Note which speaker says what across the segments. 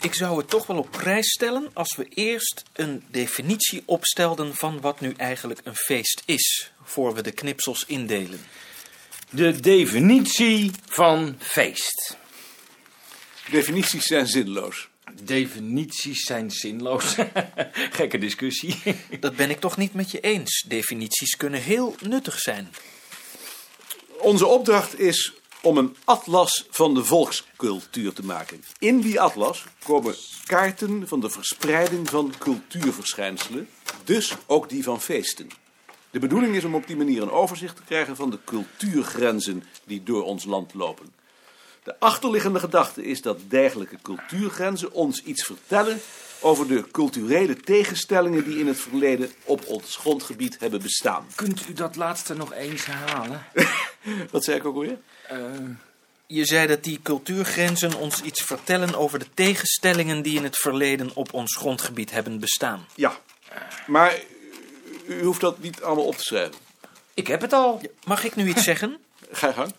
Speaker 1: Ik zou het toch wel op prijs stellen als we eerst een definitie opstelden van wat nu eigenlijk een feest is, voor we de knipsels indelen.
Speaker 2: De definitie van feest.
Speaker 3: Definities zijn zinloos.
Speaker 2: Definities zijn zinloos. Gekke discussie.
Speaker 1: Dat ben ik toch niet met je eens. Definities kunnen heel nuttig zijn.
Speaker 3: Onze opdracht is om een atlas van de volkscultuur te maken. In die atlas komen kaarten van de verspreiding van cultuurverschijnselen, dus ook die van feesten. De bedoeling is om op die manier een overzicht te krijgen van de cultuurgrenzen die door ons land lopen. De achterliggende gedachte is dat dergelijke cultuurgrenzen ons iets vertellen over de culturele tegenstellingen die in het verleden op ons grondgebied hebben bestaan.
Speaker 2: Kunt u dat laatste nog eens herhalen?
Speaker 3: Wat zei ik ook alweer?
Speaker 1: Je zei dat die cultuurgrenzen ons iets vertellen over de tegenstellingen die in het verleden op ons grondgebied hebben bestaan.
Speaker 3: Ja, maar u hoeft dat niet allemaal op te schrijven.
Speaker 2: Ik heb het al.
Speaker 1: Mag ik nu iets zeggen?
Speaker 3: Ga je gang.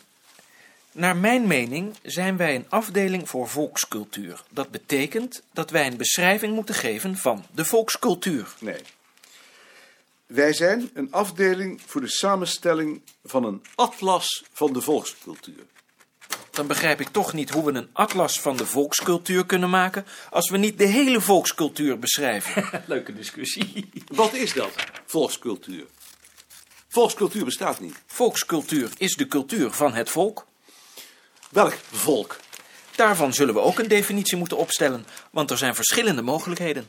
Speaker 1: Naar mijn mening zijn wij een afdeling voor volkscultuur. Dat betekent dat wij een beschrijving moeten geven van de volkscultuur.
Speaker 3: Nee. Wij zijn een afdeling voor de samenstelling van een atlas van de volkscultuur.
Speaker 1: Dan begrijp ik toch niet hoe we een atlas van de volkscultuur kunnen maken als we niet de hele volkscultuur beschrijven.
Speaker 2: Leuke discussie.
Speaker 3: Wat is dat, volkscultuur? Volkscultuur bestaat niet.
Speaker 1: Volkscultuur is de cultuur van het volk.
Speaker 3: Welk volk?
Speaker 1: Daarvan zullen we ook een definitie moeten opstellen, want er zijn verschillende mogelijkheden.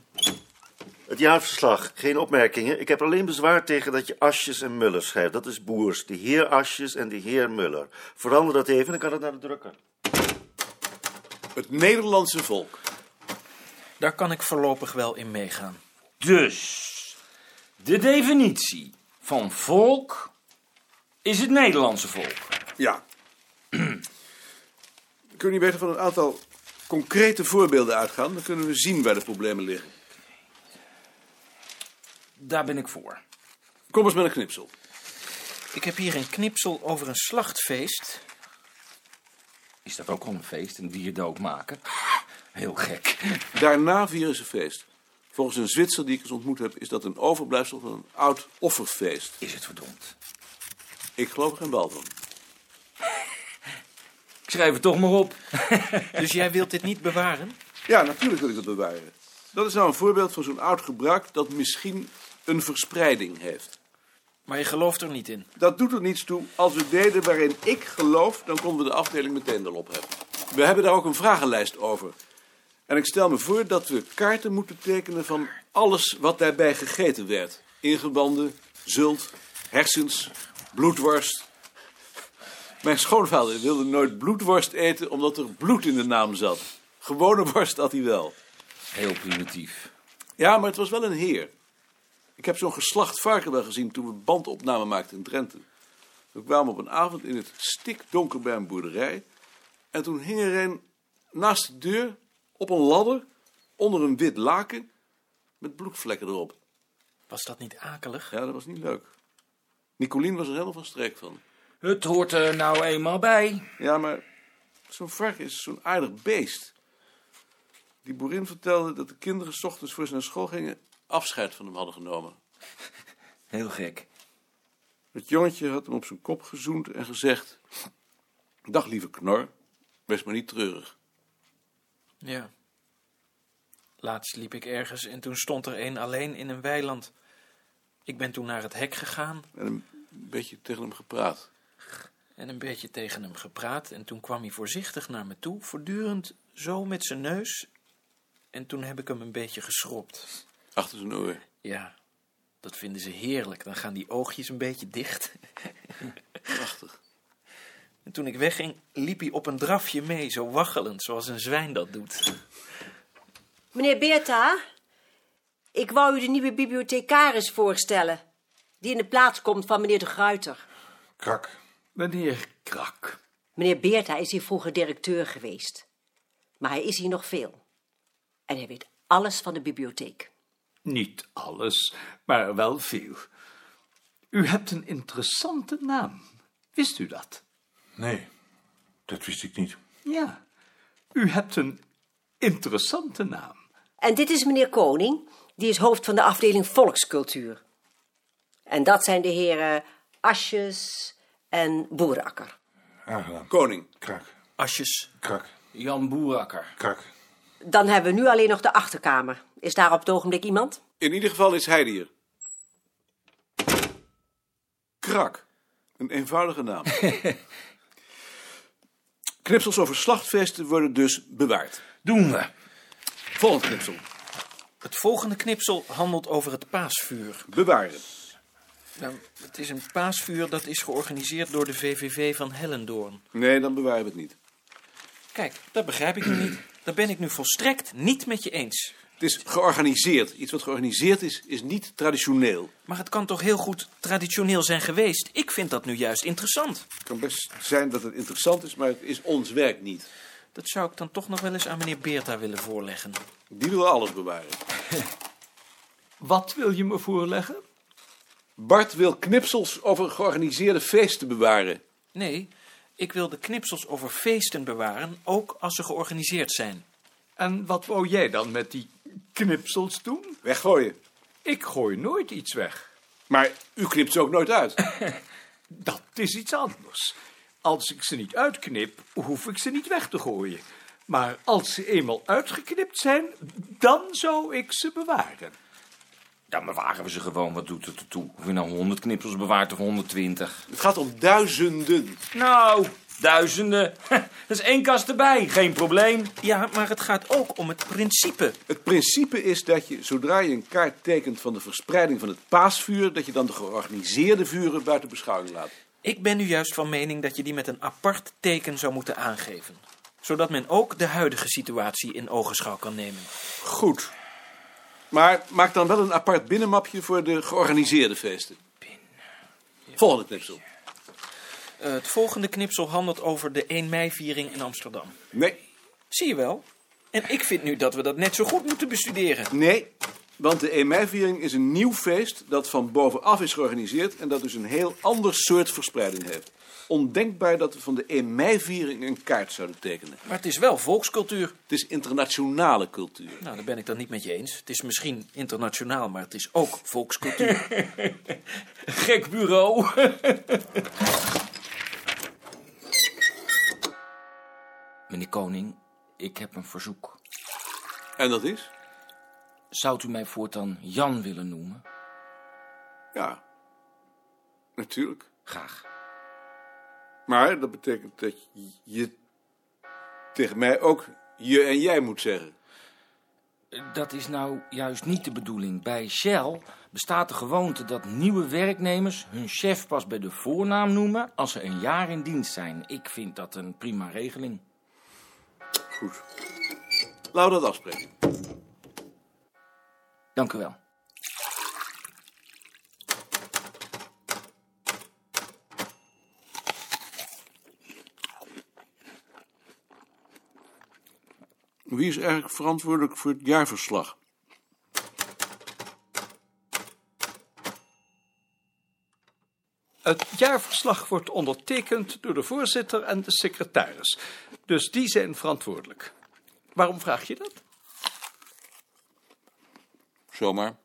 Speaker 4: Het jaarverslag, geen opmerkingen. Ik heb alleen bezwaar tegen dat je Asjes en Muller schrijft. Dat is boers. De heer Asjes en de heer Muller. Verander dat even, dan kan het naar de drukker.
Speaker 3: Het Nederlandse volk.
Speaker 1: Daar kan ik voorlopig wel in meegaan.
Speaker 2: Dus, de definitie van volk is het Nederlandse volk.
Speaker 3: Ja. Kun je beter van een aantal concrete voorbeelden uitgaan? Dan kunnen we zien waar de problemen liggen.
Speaker 2: Daar ben ik voor.
Speaker 3: Kom eens met een knipsel.
Speaker 1: Ik heb hier een knipsel over een slachtfeest.
Speaker 2: Is dat ook al een feest, een dier doodmaken? Heel gek.
Speaker 3: Daarna vieren ze feest. Volgens een Zwitser die ik eens ontmoet heb, is dat een overblijfsel van een oud offerfeest.
Speaker 2: Is het verdomd.
Speaker 3: Ik geloof er geen bal van.
Speaker 2: Ik schrijf het toch maar op.
Speaker 1: Dus jij wilt dit niet bewaren?
Speaker 3: Ja, natuurlijk wil ik dat bewaren. Dat is nou een voorbeeld van zo'n oud gebruik dat misschien een verspreiding heeft.
Speaker 1: Maar je gelooft er niet in.
Speaker 3: Dat doet er niets toe. Als we deden waarin ik geloof, dan konden we de afdeling meteen erop hebben. We hebben daar ook een vragenlijst over. En ik stel me voor dat we kaarten moeten tekenen van alles wat daarbij gegeten werd. Ingewanden, zult, hersens, bloedworst. Mijn schoonvader wilde nooit bloedworst eten omdat er bloed in de naam zat. Gewone worst had hij wel.
Speaker 2: Heel primitief.
Speaker 3: Ja, maar het was wel een heer. Ik heb zo'n geslacht varken wel gezien toen we bandopname maakten in Drenthe. We kwamen op een avond in het stikdonker bij een boerderij. En toen hing er een naast de deur op een ladder onder een wit laken met bloedvlekken erop.
Speaker 1: Was dat niet akelig?
Speaker 3: Ja, dat was niet leuk. Nicolien was er helemaal van streek van.
Speaker 2: Het hoort er nou eenmaal bij.
Speaker 3: Ja, maar zo'n varken is zo'n aardig beest. Die boerin vertelde dat de kinderen 's ochtends voor ze naar school gingen afscheid van hem hadden genomen.
Speaker 2: Heel gek.
Speaker 3: Het jongetje had hem op zijn kop gezoend en gezegd: Dag lieve knor, wees maar niet treurig.
Speaker 1: Ja. Laatst liep ik ergens en toen stond er een alleen in een weiland. Ik ben toen naar het hek gegaan
Speaker 3: En een beetje tegen hem gepraat.
Speaker 1: en een beetje tegen hem gepraat. En toen kwam hij voorzichtig naar me toe, voortdurend zo met zijn neus. En toen heb ik hem een beetje geschropt.
Speaker 3: Achter zijn oor.
Speaker 1: Ja, dat vinden ze heerlijk. Dan gaan die oogjes een beetje dicht.
Speaker 3: Prachtig.
Speaker 1: En toen ik wegging, liep hij op een drafje mee, zo waggelend, zoals een zwijn dat doet.
Speaker 5: Meneer Beerta, ik wou u de nieuwe bibliothecaris voorstellen. Die in de plaats komt van meneer de Gruiter.
Speaker 6: Krak.
Speaker 2: Meneer Krak.
Speaker 5: Meneer Beerta is hier vroeger directeur geweest. Maar hij is hier nog veel. En hij weet alles van de bibliotheek.
Speaker 6: Niet alles, maar wel veel. U hebt een interessante naam. Wist u dat?
Speaker 7: Nee, dat wist ik niet.
Speaker 6: Ja. U hebt een interessante naam.
Speaker 5: En dit is meneer Koning, die is hoofd van de afdeling Volkscultuur. En dat zijn de heren Asjes en Boerakker.
Speaker 7: Aangenaam.
Speaker 3: Koning.
Speaker 7: Krak,
Speaker 1: Asjes,
Speaker 7: krak,
Speaker 2: Jan Boerakker.
Speaker 7: krak.
Speaker 5: Dan hebben we nu alleen nog de achterkamer. Is daar op het ogenblik iemand?
Speaker 3: In ieder geval is hij hier. Krak. Een eenvoudige naam. Knipsels over slachtvesten worden dus bewaard.
Speaker 2: Doen we.
Speaker 3: Volgend knipsel.
Speaker 1: het volgende knipsel handelt over het paasvuur.
Speaker 3: Bewaren.
Speaker 1: Nou, het is een paasvuur dat is georganiseerd door de VVV van Hellendoorn.
Speaker 3: Nee, dan bewaren we het niet.
Speaker 1: Kijk, dat begrijp ik nu niet. Dat ben ik nu volstrekt niet met je eens.
Speaker 3: Het is georganiseerd. Iets wat georganiseerd is, is niet traditioneel.
Speaker 1: Maar het kan toch heel goed traditioneel zijn geweest? Ik vind dat nu juist interessant.
Speaker 3: Het kan best zijn dat het interessant is, maar het is ons werk niet.
Speaker 1: Dat zou ik dan toch nog wel eens aan meneer Beerta willen voorleggen.
Speaker 3: Die wil alles bewaren.
Speaker 6: Wat wil je me voorleggen?
Speaker 3: Bart wil knipsels over georganiseerde feesten bewaren.
Speaker 1: Nee, ik wil de knipsels over feesten bewaren, ook als ze georganiseerd zijn.
Speaker 6: En wat wou jij dan met die knipsels doen?
Speaker 3: Weggooien.
Speaker 6: Ik gooi nooit iets weg.
Speaker 3: Maar u knipt ze ook nooit uit.
Speaker 6: Dat is iets anders. Als ik ze niet uitknip, hoef ik ze niet weg te gooien. Maar als ze eenmaal uitgeknipt zijn, dan zou ik ze bewaren.
Speaker 2: Dan bewaren we ze gewoon. Wat doet het ertoe? Of je nou 100 knipsels bewaart of 120.
Speaker 3: Het gaat om duizenden.
Speaker 2: Nou, duizenden. Dat is één kast erbij. Geen probleem.
Speaker 1: Ja, maar het gaat ook om het principe.
Speaker 3: Het principe is dat je, zodra je een kaart tekent van de verspreiding van het paasvuur, dat je dan de georganiseerde vuren buiten beschouwing laat.
Speaker 1: Ik ben nu juist van mening dat je die met een apart teken zou moeten aangeven. Zodat men ook de huidige situatie in ogenschouw kan nemen.
Speaker 3: Goed. Maar maak dan wel een apart binnenmapje voor de georganiseerde feesten. Volgende knipsel.
Speaker 1: Eh, het volgende knipsel handelt over de 1 mei-viering in Amsterdam.
Speaker 3: Nee.
Speaker 1: Zie je wel? En ik vind nu dat we dat net zo goed moeten bestuderen.
Speaker 3: Nee. Want de 1 mei-viering is een nieuw feest dat van bovenaf is georganiseerd en dat dus een heel ander soort verspreiding heeft. Ondenkbaar dat we van de 1 mei-viering een kaart zouden tekenen.
Speaker 1: Maar het is wel volkscultuur.
Speaker 3: Het is internationale cultuur.
Speaker 1: Nou, daar ben ik dan niet met je eens. Het is misschien internationaal, maar het is ook volkscultuur.
Speaker 2: Gek bureau. Meneer Koning, ik heb een verzoek.
Speaker 3: En dat is?
Speaker 2: Zou u mij voortaan Jan willen noemen?
Speaker 3: Ja, natuurlijk.
Speaker 2: Graag.
Speaker 3: Maar dat betekent dat je tegen mij ook je en jij moet zeggen.
Speaker 2: Dat is nou juist niet de bedoeling. Bij Shell bestaat de gewoonte dat nieuwe werknemers hun chef pas bij de voornaam noemen als ze een jaar in dienst zijn. Ik vind dat een prima regeling.
Speaker 3: Goed. Laten we dat afspreken.
Speaker 2: Dank u wel.
Speaker 3: Wie is eigenlijk verantwoordelijk voor het jaarverslag?
Speaker 6: Het jaarverslag wordt ondertekend door de voorzitter en de secretaris. Dus die zijn verantwoordelijk. Waarom vraag je dat?
Speaker 3: Zomaar.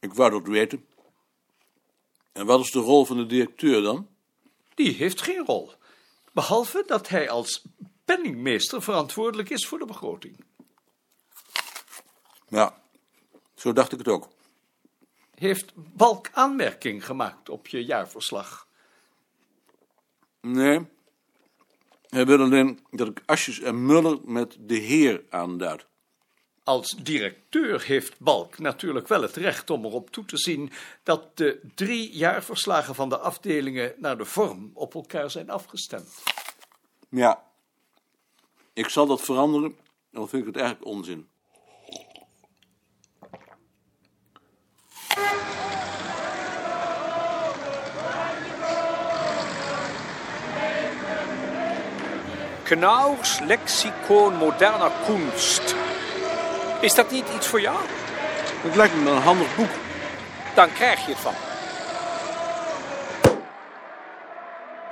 Speaker 3: Ik wou dat weten. En wat is de rol van de directeur dan?
Speaker 6: Die heeft geen rol. Behalve dat hij als penningmeester verantwoordelijk is voor de begroting.
Speaker 3: Ja, zo dacht ik het ook.
Speaker 6: Heeft Balk aanmerking gemaakt op je jaarverslag?
Speaker 3: Nee. Hij wil alleen dat ik Asjes en Muller met de heer aanduid.
Speaker 6: Als directeur heeft Balk natuurlijk wel het recht om erop toe te zien dat de drie jaarverslagen van de afdelingen naar de vorm op elkaar zijn afgestemd.
Speaker 3: Ja. Ik zal dat veranderen, dan vind ik het eigenlijk onzin.
Speaker 8: Knauws Lexicon Moderner Kunst. Is dat niet iets voor jou?
Speaker 3: Het lijkt me wel een handig boek.
Speaker 8: Dan krijg je het van. me.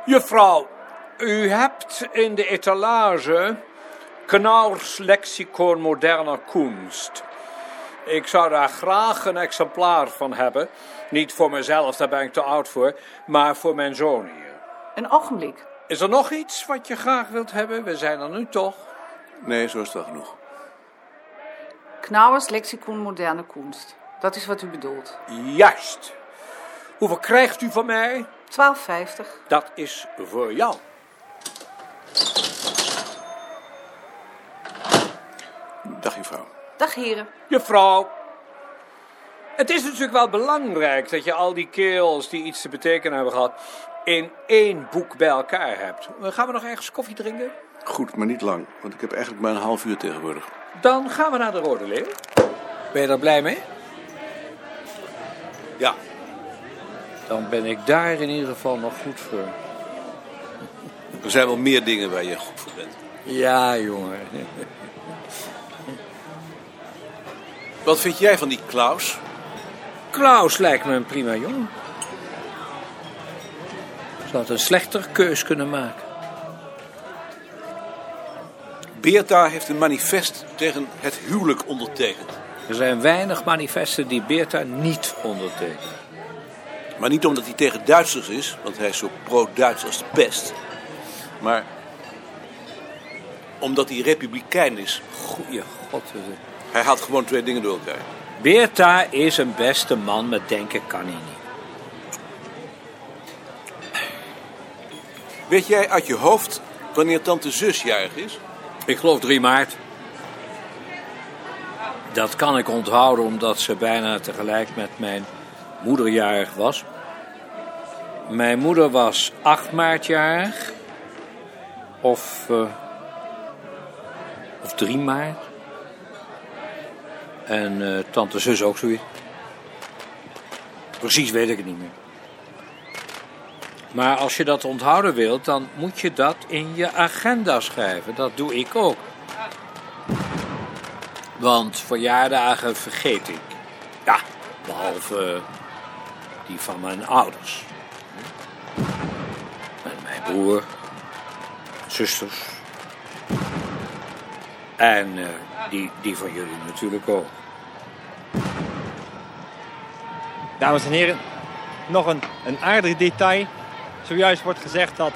Speaker 8: Juffrouw, u hebt in de etalage
Speaker 9: Knaurs Lexicon Moderne Kunst. Ik zou daar graag een exemplaar van hebben. Niet voor mezelf, daar ben ik te oud voor, maar voor mijn zoon hier.
Speaker 7: Een ogenblik.
Speaker 9: Is er nog iets wat je graag wilt hebben? We zijn er nu toch?
Speaker 3: Nee, zo is het wel genoeg.
Speaker 7: Knauwers Lexicon Moderne Kunst. Dat is wat u bedoelt.
Speaker 9: Juist. Hoeveel krijgt u van mij?
Speaker 7: 12,50.
Speaker 9: Dat is voor jou.
Speaker 3: Dag, juffrouw.
Speaker 7: Dag heren.
Speaker 9: Juffrouw. Het is natuurlijk wel belangrijk dat je al die kerels die iets te betekenen hebben gehad. in één boek bij elkaar hebt. Gaan we nog ergens koffie drinken?
Speaker 3: Goed, maar niet lang, want ik heb eigenlijk maar een half uur tegenwoordig.
Speaker 9: Dan gaan we naar de Rode Leeuw. Ben je daar blij mee?
Speaker 3: Ja,
Speaker 1: Dan ben ik daar in ieder geval nog goed voor.
Speaker 3: er zijn wel meer dingen waar je goed voor bent.
Speaker 1: Ja, jongen.
Speaker 3: Wat vind jij van die Klaus?
Speaker 1: Klaus lijkt me een prima jongen. Zou het een slechter keus kunnen maken.
Speaker 3: Beerta heeft een manifest tegen het huwelijk ondertekend.
Speaker 1: Er zijn weinig manifesten die Beerta niet ondertekent.
Speaker 3: Maar niet omdat hij tegen Duitsers is, want hij is zo pro-Duits als de pest. Maar omdat hij republikein is.
Speaker 1: Goeie god. is het.
Speaker 3: Hij haalt gewoon twee dingen door elkaar.
Speaker 1: Beerta is een beste man, maar denken kan hij niet.
Speaker 3: Weet jij uit je hoofd wanneer tante zus jarig is?
Speaker 1: Ik geloof 3 maart. Dat kan ik onthouden omdat ze bijna tegelijk met mijn moeder jarig was. Mijn moeder was 8 maart jarig. Of, eh, of 3 maart. En eh, tante zus ook zoiets. Precies weet ik het niet meer. Maar als je dat onthouden wilt, dan moet je dat in je agenda schrijven. Dat doe ik ook. Want verjaardagen vergeet ik. Ja, behalve eh, die van mijn ouders. En mijn broer, zusters. En eh, die, die van jullie natuurlijk ook.
Speaker 10: Dames en heren, nog een, een aardig detail. Zojuist wordt gezegd dat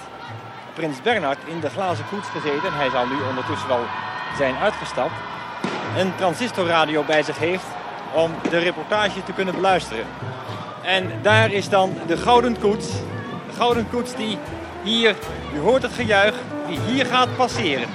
Speaker 10: prins Bernhard in de glazen koets gezeten, en hij zal nu ondertussen wel zijn uitgestapt, een transistorradio bij zich heeft om de reportage te kunnen beluisteren. En daar is dan de gouden koets. De gouden koets die hier, u hoort het gejuich, die hier gaat passeren.